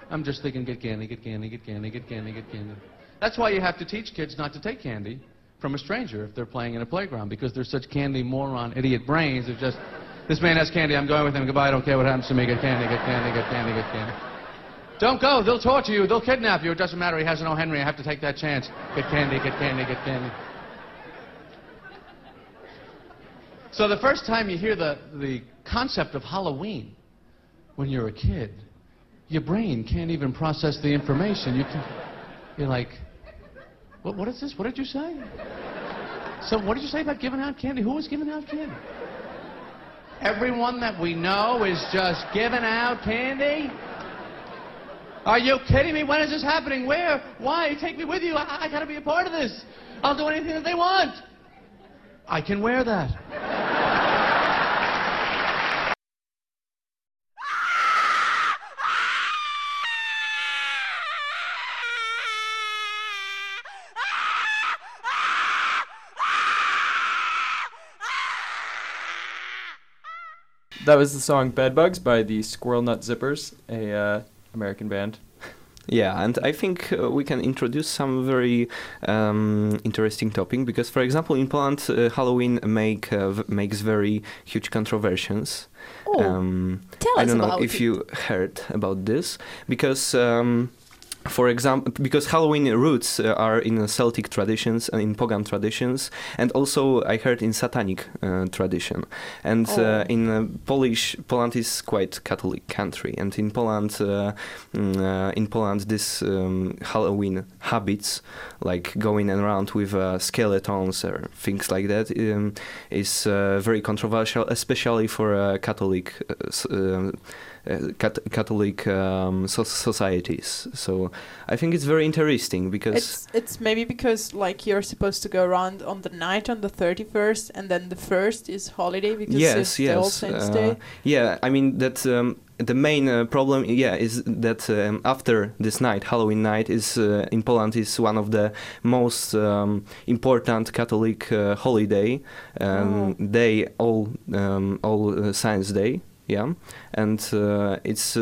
[SPEAKER 6] I'm just thinking get candy, get candy, get candy, get candy, get candy. That's why you have to teach kids not to take candy from a stranger if they're playing in a playground because they're such candy moron idiot brains. They're just this man has candy, I'm going with him, goodbye, I don't care what happens to me, get candy, get candy, get candy, get candy. Don't go. They'll torture you. They'll kidnap you. It doesn't matter. He has no Henry. I have to take that chance. Get candy, get candy, get candy. So the first time you hear the, the concept of Halloween when you're a kid, your brain can't even process the information. You can, you're like, what, what is this? What did you say? So what did you say about giving out candy? Who was giving out candy? Everyone that we know is just giving out candy? Are you kidding me? When is this happening? Where? Why? Take me with you. I, I gotta be a part of this. I'll do anything that they want. I can wear that.
[SPEAKER 2] that was the song "Bedbugs" by the Squirrel Nut Zippers, a uh, American band.
[SPEAKER 5] Yeah, and I think uh, we can introduce some very um, interesting topic because, for example, in Poland, uh, Halloween make uh, v- makes very huge controversies.
[SPEAKER 4] Oh,
[SPEAKER 5] um,
[SPEAKER 4] tell
[SPEAKER 5] I
[SPEAKER 4] us
[SPEAKER 5] don't know
[SPEAKER 4] about
[SPEAKER 5] if
[SPEAKER 4] it.
[SPEAKER 5] you heard about this because. Um, for example, because Halloween roots uh, are in uh, Celtic traditions and in pagan traditions, and also I heard in Satanic uh, tradition. And uh, in uh, Polish, Poland is quite Catholic country, and in Poland, uh, mm, uh, in Poland, this um, Halloween habits, like going around with uh, skeletons or things like that, um, is uh, very controversial, especially for uh, Catholic uh, s- um, uh, cat- Catholic um, so- societies. So I think it's very interesting because
[SPEAKER 4] It's it's maybe because like you're supposed to go around on the night on the thirty first, and then the first is holiday because it's
[SPEAKER 5] yes,
[SPEAKER 4] the All
[SPEAKER 5] yes,
[SPEAKER 4] Saints
[SPEAKER 5] uh,
[SPEAKER 4] Day.
[SPEAKER 5] yeah. I mean that um, the main uh, problem, yeah, is that um, after this night, Halloween night, is uh, in Poland is one of the most um, important Catholic uh, holiday.
[SPEAKER 4] Oh.
[SPEAKER 5] Um, They all um, all uh, Science Day. Yeah, and uh, it's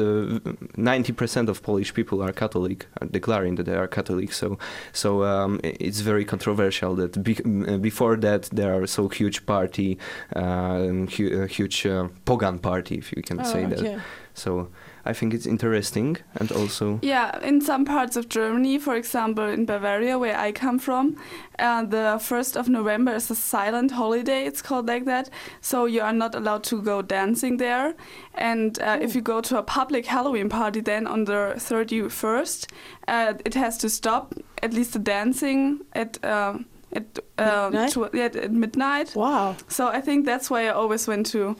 [SPEAKER 5] ninety percent of Polish people are Catholic, are declaring that they are Catholic. So, so um, i- it's very controversial that be- m- uh, before that there are so huge party, um, hu- uh, huge uh, pagan party, if you can
[SPEAKER 4] Oh,
[SPEAKER 5] say that.
[SPEAKER 4] okay.
[SPEAKER 5] So, I think it's interesting, and also
[SPEAKER 3] Yeah, in some parts of Germany, for example in Bavaria, where I come from, uh, the 1st of November is a silent holiday, it's called like that. So you are not allowed to go dancing there. And uh, if you go to a public Halloween party, then on the 31st, uh, it has to stop, at least the dancing at. Uh, at, uh,
[SPEAKER 4] Midnight?
[SPEAKER 3] to, yeah, at midnight.
[SPEAKER 4] Wow.
[SPEAKER 3] So I think that's why I always went to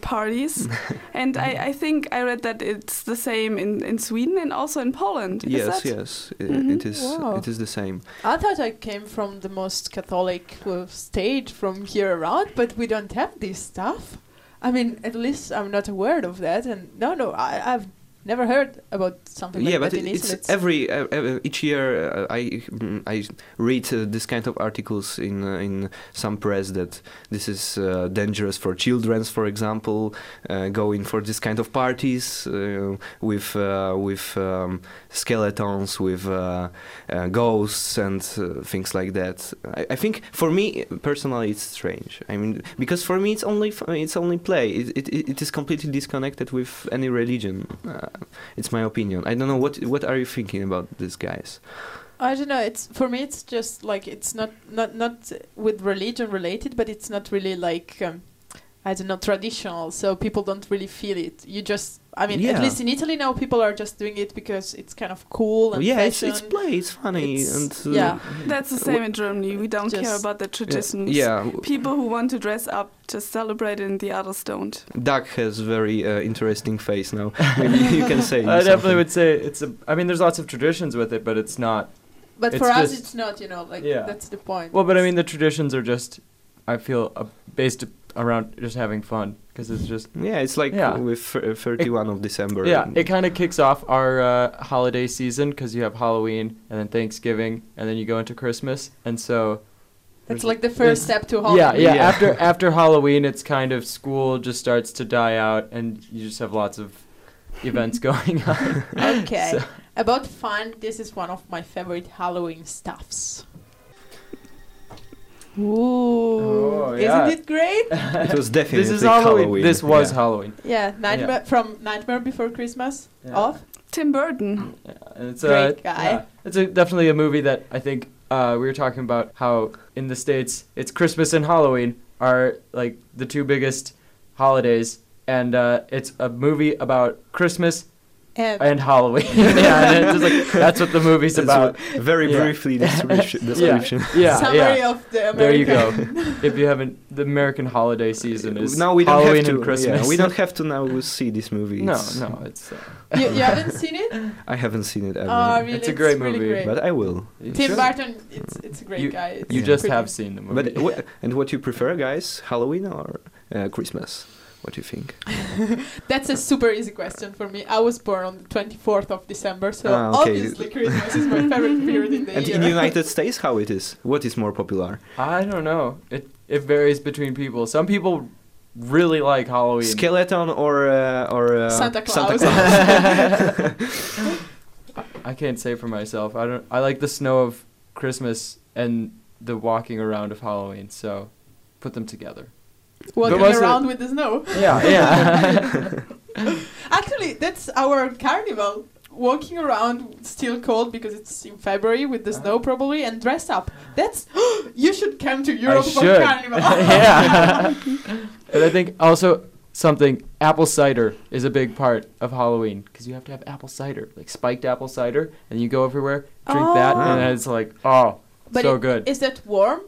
[SPEAKER 5] (laughs)
[SPEAKER 3] parties. and
[SPEAKER 5] Mm-hmm.
[SPEAKER 3] I, I think I read that it's the same in, in Sweden and also in Poland. Is
[SPEAKER 5] yes,
[SPEAKER 3] that-
[SPEAKER 5] yes, i-
[SPEAKER 3] Mhm.
[SPEAKER 5] it is
[SPEAKER 4] Mm-hmm. Wow.
[SPEAKER 5] it is the same.
[SPEAKER 4] I thought I came from the most Catholic uh, state from here around, but we don't have this stuff. I mean, at least I'm not aware of that. And no, no, I, I've Never heard about something like
[SPEAKER 5] yeah, but
[SPEAKER 4] that in
[SPEAKER 5] it- it's
[SPEAKER 4] Italy.
[SPEAKER 5] every uh, uh, each year uh, I mm, I read uh, this kind of articles in uh, in some press that this is uh, dangerous for children, for example, uh, going for this kind of parties uh, with uh, with um, skeletons, with uh, uh, ghosts and uh, things like that. I, I think for me personally it's strange. I mean because for me it's only f- it's only play. It it, it is completely disconnected with any religion. Uh, it's my opinion. I don't know what what are you thinking about these guys.
[SPEAKER 4] I don't know. It's for me. It's just like it's not not not with religion related, but it's not really like um, I don't know traditional. So people don't really feel it. You just I mean,
[SPEAKER 5] Yeah.
[SPEAKER 4] at least in Italy now, people are just doing it because it's kind of cool and
[SPEAKER 5] yeah, it's
[SPEAKER 4] fashion.
[SPEAKER 5] it's play. It's funny
[SPEAKER 4] It's-
[SPEAKER 5] and uh,
[SPEAKER 4] yeah.
[SPEAKER 3] That's the same in Germany. We don't care
[SPEAKER 4] Just-
[SPEAKER 3] about the traditions.
[SPEAKER 5] Yeah, w-
[SPEAKER 3] People who want to dress up just celebrate it and the others don't.
[SPEAKER 5] Doug has very uh, interesting face
[SPEAKER 4] (laughs)
[SPEAKER 5] now. Maybe you can say.
[SPEAKER 2] I definitely
[SPEAKER 5] something.
[SPEAKER 2] would say it's a. I mean, there's lots of traditions with it, but it's not.
[SPEAKER 4] but
[SPEAKER 2] it's
[SPEAKER 4] for us,
[SPEAKER 2] just-
[SPEAKER 4] it's not. You know, like
[SPEAKER 2] Yeah.
[SPEAKER 4] that's the point.
[SPEAKER 2] Well, but I mean, the traditions are just. I feel uh, based around just having fun because it's just.
[SPEAKER 5] Yeah, it's like
[SPEAKER 2] Yeah.
[SPEAKER 5] with uh, 31 of December.
[SPEAKER 2] Yeah, it kind of kicks off our uh, holiday season because you have Halloween and then Thanksgiving and then you go into Christmas, and so
[SPEAKER 4] that's like the first step to Halloween.
[SPEAKER 2] yeah, yeah,
[SPEAKER 5] Yeah.
[SPEAKER 2] After after Halloween, it's kind of school just starts to die out, and you just have lots of
[SPEAKER 4] (laughs)
[SPEAKER 2] events going on. (laughs)
[SPEAKER 4] Okay. About fun, this is one of my favorite Halloween stuffs. Ooh.
[SPEAKER 2] Oh, yeah.
[SPEAKER 4] Isn't it great?
[SPEAKER 5] It was
[SPEAKER 2] (laughs)
[SPEAKER 5] definitely
[SPEAKER 2] this is Halloween. This was
[SPEAKER 5] yeah.
[SPEAKER 2] Halloween.
[SPEAKER 4] Yeah, Nightmare from Nightmare Before Christmas
[SPEAKER 2] Yeah.
[SPEAKER 4] of
[SPEAKER 3] Tim Burton.
[SPEAKER 2] Yeah, and it's a
[SPEAKER 4] Great guy.
[SPEAKER 2] yeah, it's a, definitely a movie that I think uh, we were talking about how in the states it's Christmas and Halloween are like the two biggest holidays, and uh, it's a movie about Christmas
[SPEAKER 4] and
[SPEAKER 2] and Halloween. (laughs) yeah, and it's just like that's what the movie's
[SPEAKER 5] That's
[SPEAKER 2] about.
[SPEAKER 5] what- very
[SPEAKER 2] Yeah. (laughs)
[SPEAKER 5] briefly description. description.
[SPEAKER 2] Yeah, yeah,
[SPEAKER 5] (laughs)
[SPEAKER 4] summary
[SPEAKER 2] yeah.
[SPEAKER 4] of the American.
[SPEAKER 2] There you go. (laughs) if you haven't, the American holiday season is
[SPEAKER 5] now we don't
[SPEAKER 2] Halloween
[SPEAKER 5] have to.
[SPEAKER 2] and Christmas.
[SPEAKER 5] yeah, we don't have to now see this movie.
[SPEAKER 2] (laughs) no,
[SPEAKER 5] It's-
[SPEAKER 2] no, it's uh,
[SPEAKER 4] (laughs) you, you haven't seen
[SPEAKER 2] (laughs)
[SPEAKER 4] it?
[SPEAKER 5] I haven't seen it ever.
[SPEAKER 4] Oh, really?
[SPEAKER 2] It's a great
[SPEAKER 4] really
[SPEAKER 2] movie,
[SPEAKER 4] great.
[SPEAKER 5] But I will.
[SPEAKER 4] Tim
[SPEAKER 2] sure.
[SPEAKER 4] Burton, it's it's a great guy. It's
[SPEAKER 2] You
[SPEAKER 5] Yeah.
[SPEAKER 2] just
[SPEAKER 4] pretty-
[SPEAKER 2] have seen the movie.
[SPEAKER 5] But wh- and what you prefer, guys? Halloween or uh, Christmas? What do you think?
[SPEAKER 4] That's a super easy question for me. I was born on the 24th of December, so
[SPEAKER 5] Ah, okay.
[SPEAKER 4] obviously Christmas is my favorite period
[SPEAKER 2] (laughs)
[SPEAKER 4] in the
[SPEAKER 5] And
[SPEAKER 4] year.
[SPEAKER 5] in the United States, how it is? What is more popular?
[SPEAKER 2] I don't know. It it varies between people. Some people really like Halloween.
[SPEAKER 5] Skeleton or uh, or uh,
[SPEAKER 4] Santa Claus. (laughs)
[SPEAKER 2] I can't say for myself. I don't. I like the snow of Christmas and the walking around of Halloween. So, put them together.
[SPEAKER 4] Walking
[SPEAKER 2] was it-
[SPEAKER 4] around with the snow.
[SPEAKER 2] Yeah, yeah. (laughs)
[SPEAKER 5] (laughs)
[SPEAKER 4] Actually, that's our carnival. Walking around still cold because it's in February with the
[SPEAKER 2] Uh-huh.
[SPEAKER 4] snow probably and dress up. That's (gasps) you should come to Europe for
[SPEAKER 2] should. (laughs)
[SPEAKER 4] carnival. (laughs)
[SPEAKER 2] yeah. and I think also something apple cider is a big part of Halloween because you have to have apple cider, like spiked apple cider, and you go everywhere, drink that, and
[SPEAKER 5] Oh.
[SPEAKER 2] it's like oh,
[SPEAKER 4] But
[SPEAKER 2] so
[SPEAKER 4] it-
[SPEAKER 2] good.
[SPEAKER 4] Is that warm?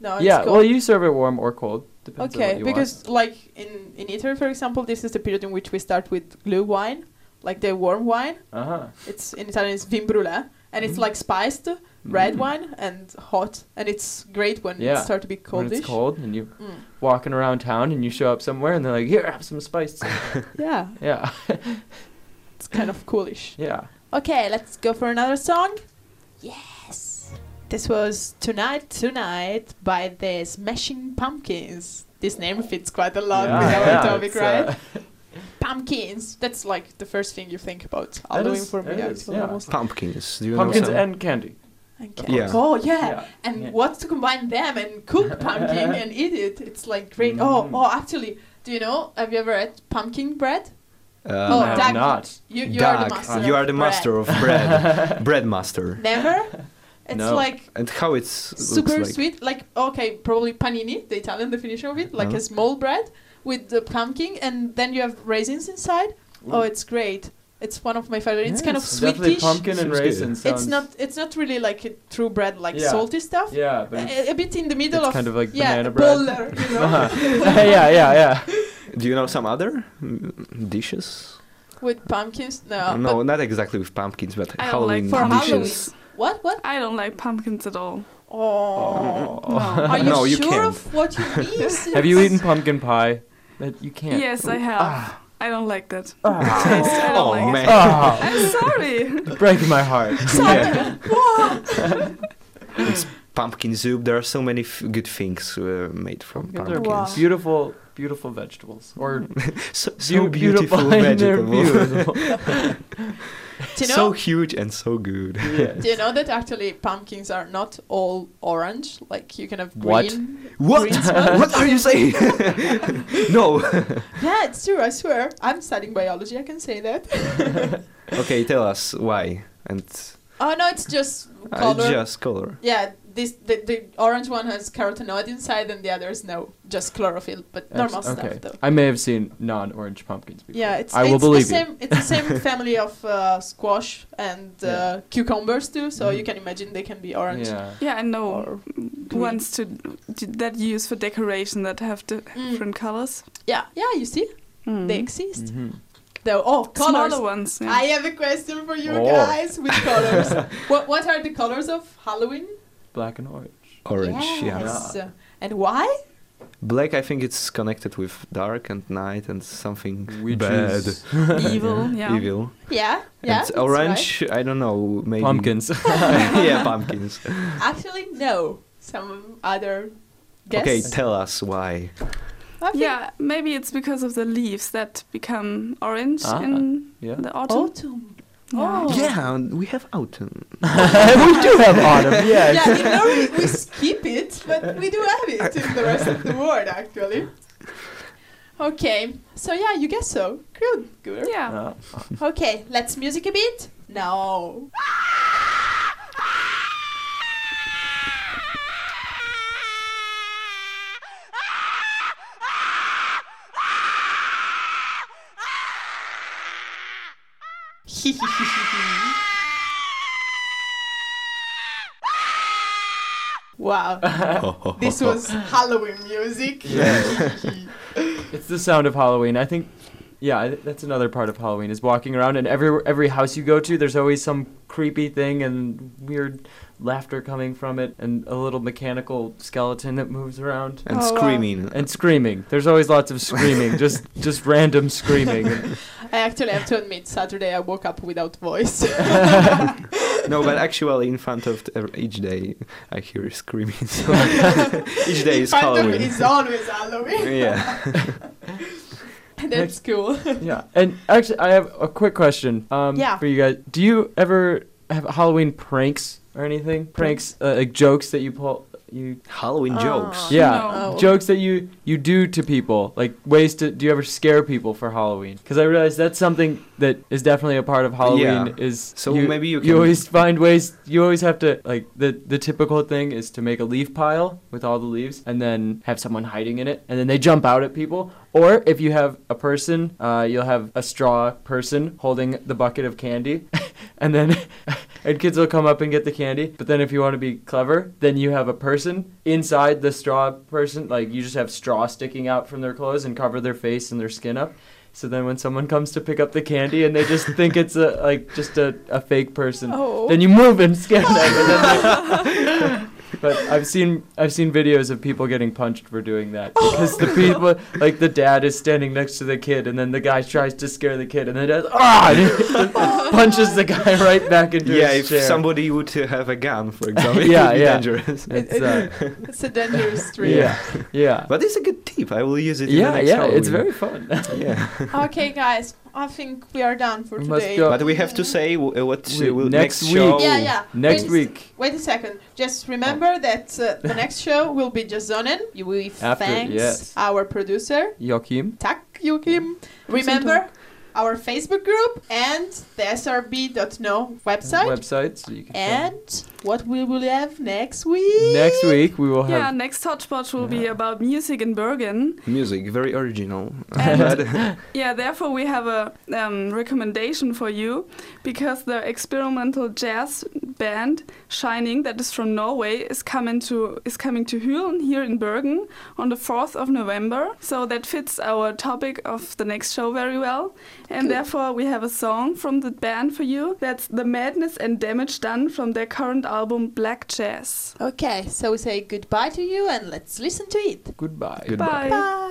[SPEAKER 4] No, it's
[SPEAKER 2] yeah.
[SPEAKER 4] cold.
[SPEAKER 2] Well, you serve it warm or cold. Depends on what
[SPEAKER 4] okay,
[SPEAKER 2] you
[SPEAKER 4] because
[SPEAKER 2] want.
[SPEAKER 4] like in in Italy, for example, this is the period in which we start with blue wine, like the warm wine.
[SPEAKER 2] Uh-huh.
[SPEAKER 4] It's in Italian it's vin brulé, and
[SPEAKER 2] Mm-hmm.
[SPEAKER 4] it's like spiced red wine and hot, and it's great when
[SPEAKER 2] Mm. Yeah,
[SPEAKER 4] it starts to be
[SPEAKER 2] When
[SPEAKER 4] coldish.
[SPEAKER 2] it's cold and you
[SPEAKER 4] Mm.
[SPEAKER 2] walking around town and you show up somewhere and they're like, here, have some
[SPEAKER 4] (laughs)
[SPEAKER 2] spice.
[SPEAKER 4] Yeah,
[SPEAKER 2] yeah, (laughs)
[SPEAKER 4] it's kind of coolish.
[SPEAKER 2] yeah.
[SPEAKER 4] Okay, let's go for another song. Yes. This was Tonight Tonight by the Smashing Pumpkins. This name fits quite a lot with our
[SPEAKER 2] yeah, (laughs)
[SPEAKER 4] topic,
[SPEAKER 2] it's, uh,
[SPEAKER 4] right? Pumpkins. That's like the first thing you think about. Halloween
[SPEAKER 2] is-
[SPEAKER 4] for me.
[SPEAKER 2] that is,
[SPEAKER 4] actually,
[SPEAKER 2] yeah.
[SPEAKER 4] almost.
[SPEAKER 5] Pumpkins. Do you
[SPEAKER 2] pumpkins
[SPEAKER 5] know some?
[SPEAKER 2] and candy.
[SPEAKER 4] Okay.
[SPEAKER 5] Yeah.
[SPEAKER 4] Oh yeah.
[SPEAKER 2] Yeah.
[SPEAKER 4] And
[SPEAKER 2] Yeah.
[SPEAKER 4] what's to combine them and cook
[SPEAKER 2] (laughs)
[SPEAKER 4] pumpkin and eat it? It's like great. Oh,
[SPEAKER 2] Mm.
[SPEAKER 4] oh, actually, do you know? Have you ever had pumpkin bread?
[SPEAKER 5] Uh,
[SPEAKER 4] oh,
[SPEAKER 2] Um, I have
[SPEAKER 4] Doug,
[SPEAKER 2] not.
[SPEAKER 4] You, you are the
[SPEAKER 5] Doug,
[SPEAKER 4] master.
[SPEAKER 5] you
[SPEAKER 4] of
[SPEAKER 5] are the
[SPEAKER 4] bread.
[SPEAKER 5] master of
[SPEAKER 4] (laughs)
[SPEAKER 5] bread. bread master.
[SPEAKER 2] (laughs)
[SPEAKER 4] Never. It's
[SPEAKER 2] No.
[SPEAKER 4] like
[SPEAKER 5] And how it's looks
[SPEAKER 4] super
[SPEAKER 5] like.
[SPEAKER 4] sweet like okay probably panini the italian definition of it like
[SPEAKER 2] Uh-huh.
[SPEAKER 4] a small bread with the pumpkin and then you have raisins inside oh it's great it's one of my favorite it's kind of
[SPEAKER 2] Yes, Definitely
[SPEAKER 4] sweetish
[SPEAKER 2] pumpkin and
[SPEAKER 5] Seems good.
[SPEAKER 2] raisin.
[SPEAKER 4] it's
[SPEAKER 2] sounds-
[SPEAKER 4] not it's not really like a true bread like
[SPEAKER 2] Yeah.
[SPEAKER 4] salty stuff
[SPEAKER 2] Yeah, but (laughs) it's-
[SPEAKER 4] a, a bit in the middle
[SPEAKER 2] it's
[SPEAKER 4] of
[SPEAKER 2] kind of like
[SPEAKER 4] yeah,
[SPEAKER 2] banana bread. (laughs) Uh-huh.
[SPEAKER 4] baller, you know
[SPEAKER 2] yeah, yeah, yeah.
[SPEAKER 5] Do you know some other mm, dishes?
[SPEAKER 4] (laughs) with pumpkins no,
[SPEAKER 5] no,
[SPEAKER 4] Uh, but
[SPEAKER 5] not exactly with pumpkins, but
[SPEAKER 3] I don't like
[SPEAKER 5] Halloween
[SPEAKER 4] for Halloween
[SPEAKER 5] dishes.
[SPEAKER 4] what what
[SPEAKER 3] I don't like pumpkins at all.
[SPEAKER 4] oh,
[SPEAKER 2] (laughs)
[SPEAKER 5] (laughs)
[SPEAKER 3] No.
[SPEAKER 4] are you
[SPEAKER 5] No, you
[SPEAKER 4] sure
[SPEAKER 5] can't.
[SPEAKER 4] of what you eat
[SPEAKER 2] Have you eaten pumpkin pie? That you can't.
[SPEAKER 5] Ah.
[SPEAKER 3] Yes, I have. I don't like that. Taste, (laughs) I don't like
[SPEAKER 5] man.
[SPEAKER 3] it.
[SPEAKER 2] Oh,
[SPEAKER 3] I'm
[SPEAKER 5] (laughs)
[SPEAKER 3] sorry.
[SPEAKER 2] breaking my heart.
[SPEAKER 5] Yeah. (laughs) It's pumpkin soup. There are so many f- good things uh, made from
[SPEAKER 2] Pumpkins are
[SPEAKER 5] pumpkins.
[SPEAKER 3] Wow.
[SPEAKER 2] Beautiful, beautiful vegetables. Or
[SPEAKER 5] So, (laughs) so
[SPEAKER 2] beau-
[SPEAKER 5] beautiful,
[SPEAKER 2] and they're beautiful.
[SPEAKER 5] vegetable. (laughs)
[SPEAKER 4] Do you
[SPEAKER 5] so
[SPEAKER 4] know?
[SPEAKER 5] huge and so good.
[SPEAKER 2] yes.
[SPEAKER 4] do you know that actually pumpkins are not all orange? Like you can have green.
[SPEAKER 2] What?
[SPEAKER 5] (laughs) What?
[SPEAKER 2] (laughs)
[SPEAKER 5] (laughs)
[SPEAKER 4] Green
[SPEAKER 5] what are you
[SPEAKER 4] (laughs)
[SPEAKER 5] saying? no. (laughs)
[SPEAKER 4] Yeah, it's true. I swear. I'm studying biology. I can
[SPEAKER 2] (laughs)
[SPEAKER 4] say that.
[SPEAKER 5] Okay, tell us why. And
[SPEAKER 4] Oh no, it's just
[SPEAKER 5] I
[SPEAKER 4] color.
[SPEAKER 5] just color.
[SPEAKER 4] Yeah, this the, the orange one has carotenoid inside, and the other is no, just chlorophyll, but normal
[SPEAKER 2] Ex- okay.
[SPEAKER 4] stuff though.
[SPEAKER 2] I may have seen non-orange pumpkins before.
[SPEAKER 4] Yeah, it's
[SPEAKER 2] I will
[SPEAKER 4] it's
[SPEAKER 2] believe
[SPEAKER 4] the same. It's the same
[SPEAKER 2] (laughs)
[SPEAKER 4] family of uh, squash and uh,
[SPEAKER 2] Yeah.
[SPEAKER 4] cucumbers too. So
[SPEAKER 2] Mhm.
[SPEAKER 4] you can imagine they can be
[SPEAKER 2] you.
[SPEAKER 4] orange.
[SPEAKER 2] Yeah.
[SPEAKER 3] Yeah, I know
[SPEAKER 4] Or green.
[SPEAKER 3] ones to that you use for decoration that have di-
[SPEAKER 4] Mm.
[SPEAKER 3] different colors.
[SPEAKER 4] Yeah, yeah. You see,
[SPEAKER 3] Mm.
[SPEAKER 4] they exist.
[SPEAKER 2] Mhm.
[SPEAKER 4] Though, oh, colors.
[SPEAKER 3] Smaller ones. Yeah.
[SPEAKER 4] I have a question for you
[SPEAKER 2] Oh.
[SPEAKER 4] guys with
[SPEAKER 5] (laughs)
[SPEAKER 4] colors. what what are the colors of Halloween?
[SPEAKER 2] Black and orange.
[SPEAKER 5] Orange, yeah.
[SPEAKER 4] Yes. And why?
[SPEAKER 5] Black, I think it's connected with dark and night and something
[SPEAKER 2] Which
[SPEAKER 5] bad,
[SPEAKER 2] is
[SPEAKER 3] (laughs) Evil. Yeah.
[SPEAKER 5] evil.
[SPEAKER 4] Yeah, yeah.
[SPEAKER 5] and
[SPEAKER 4] that's right.
[SPEAKER 5] orange, I don't know, maybe
[SPEAKER 4] (laughs)
[SPEAKER 2] pumpkins.
[SPEAKER 5] (laughs) yeah, pumpkins.
[SPEAKER 4] Actually, no. Some other guess.
[SPEAKER 5] Okay, tell us why.
[SPEAKER 4] I think
[SPEAKER 3] Yeah, maybe it's because of the leaves that become orange
[SPEAKER 2] Ah,
[SPEAKER 3] in
[SPEAKER 2] yeah.
[SPEAKER 3] the autumn.
[SPEAKER 4] Autumn.
[SPEAKER 3] Yeah.
[SPEAKER 4] Oh.
[SPEAKER 5] Yeah, and we have autumn.
[SPEAKER 2] we do have autumn. Yeah.
[SPEAKER 4] Yeah,
[SPEAKER 5] (laughs)
[SPEAKER 4] in Norway we skip it, but we do have it in the rest of the world actually. Okay, so yeah, you guess so. Good, good.
[SPEAKER 3] Yeah.
[SPEAKER 2] Uh,
[SPEAKER 4] Okay, let's music a bit. No. (laughs) wow, this was Halloween music.
[SPEAKER 2] It's the sound of Halloween. I think, yeah, I- that's another part of Halloween is walking around and every every house you go to, there's always some creepy thing and weird laughter coming from it and a little mechanical skeleton that moves around
[SPEAKER 5] And
[SPEAKER 4] Oh, wow.
[SPEAKER 5] screaming.
[SPEAKER 2] and screaming. There's always lots of screaming, just just random screaming. (laughs) And
[SPEAKER 4] I actually have to admit, Saturday I woke up without voice.
[SPEAKER 5] No, but actually, in front of t- each day, I hear
[SPEAKER 2] (laughs)
[SPEAKER 5] screaming. So (laughs) each day is
[SPEAKER 4] Phantom
[SPEAKER 5] Halloween.
[SPEAKER 4] is always
[SPEAKER 5] (laughs)
[SPEAKER 4] Halloween. (laughs)
[SPEAKER 5] yeah.
[SPEAKER 4] That's cool. (laughs)
[SPEAKER 2] yeah, and actually, I have a quick question um,
[SPEAKER 4] Yeah.
[SPEAKER 2] for you guys. Do you ever have Halloween pranks or anything? Pranks, uh, like jokes that you pull, you
[SPEAKER 5] Halloween
[SPEAKER 4] Oh.
[SPEAKER 5] jokes.
[SPEAKER 2] Yeah,
[SPEAKER 4] No.
[SPEAKER 2] jokes that you you do to people, like ways to do you ever scare people for Halloween? Because I realize that's something that is definitely a part of Halloween.
[SPEAKER 5] Yeah.
[SPEAKER 2] Is
[SPEAKER 5] So maybe you
[SPEAKER 2] you
[SPEAKER 5] can-
[SPEAKER 2] always find ways. You always have to like the the typical thing is to make a leaf pile with all the leaves and then have someone hiding in it, and then they jump out at people. Or if you have a person, uh, you'll have a straw person holding the bucket of candy, (laughs) and then. And kids will come up and get the candy. But then if you want to be clever, then you have a person inside the straw person. Like you just have straw sticking out from their clothes and cover their face and their skin up. So then when someone comes to pick up the candy and they just think it's a like just a, a fake person,
[SPEAKER 4] Oh.
[SPEAKER 2] then you move and scare them. And then they-
[SPEAKER 4] (laughs)
[SPEAKER 2] but I've seen I've seen videos of people getting punched for doing that
[SPEAKER 4] Oh.
[SPEAKER 2] because the people like the dad is standing next to the kid and then the guy tries to scare the kid and the dad's ah (laughs) and he just
[SPEAKER 4] Oh.
[SPEAKER 2] punches the guy right back into
[SPEAKER 5] Yeah,
[SPEAKER 2] his
[SPEAKER 5] if
[SPEAKER 2] chair.
[SPEAKER 5] somebody would uh, have a gun,
[SPEAKER 2] (laughs)
[SPEAKER 5] for example, it
[SPEAKER 2] Yeah,
[SPEAKER 5] would be
[SPEAKER 2] yeah.
[SPEAKER 5] dangerous.
[SPEAKER 2] It's,
[SPEAKER 4] It-
[SPEAKER 2] uh,
[SPEAKER 4] It's a dangerous trip.
[SPEAKER 2] yeah, yeah,
[SPEAKER 5] (laughs) But it's a good tip. I will use it. in the
[SPEAKER 2] yeah,
[SPEAKER 5] next
[SPEAKER 2] yeah. It's very
[SPEAKER 5] Halloween.
[SPEAKER 2] fun.
[SPEAKER 5] Yeah.
[SPEAKER 4] Okay, guys, I think we are done for
[SPEAKER 2] We must
[SPEAKER 4] today.
[SPEAKER 2] go.
[SPEAKER 5] But we have to say Oh, w- uh, what
[SPEAKER 2] Wait,
[SPEAKER 5] uh, will
[SPEAKER 2] next
[SPEAKER 5] next,
[SPEAKER 2] week.
[SPEAKER 5] show.
[SPEAKER 4] Yeah, yeah.
[SPEAKER 2] (laughs) Next
[SPEAKER 4] Wait,
[SPEAKER 2] week.
[SPEAKER 4] Wait a second. Just remember that uh,
[SPEAKER 5] (laughs)
[SPEAKER 4] the next show will be Jasonen. We
[SPEAKER 2] After,
[SPEAKER 4] thanks
[SPEAKER 2] yes.
[SPEAKER 4] our producer,
[SPEAKER 2] Joachim.
[SPEAKER 4] Tak Yukim. Remember our Facebook group and the SRB.no website.
[SPEAKER 2] Website. So you can
[SPEAKER 4] and what we will have next week.
[SPEAKER 2] Next week we will
[SPEAKER 3] Yeah,
[SPEAKER 2] have
[SPEAKER 3] next hotspot will be about music in Bergen.
[SPEAKER 5] Music, very original. (laughs)
[SPEAKER 3] And yeah, therefore we have a um, recommendation for you because the experimental jazz band Shining, that is from Norway, is coming to is coming to Hülen here in Bergen on the 4th of November. So that fits our topic of the next show very well. And therefore we have a song from the band for you. That's The Madness and Damage Done from their current album Black Jazz.
[SPEAKER 4] Okay, so we say goodbye to you and let's listen to it.
[SPEAKER 2] goodbye.
[SPEAKER 5] Good-
[SPEAKER 3] Bye.
[SPEAKER 4] Bye.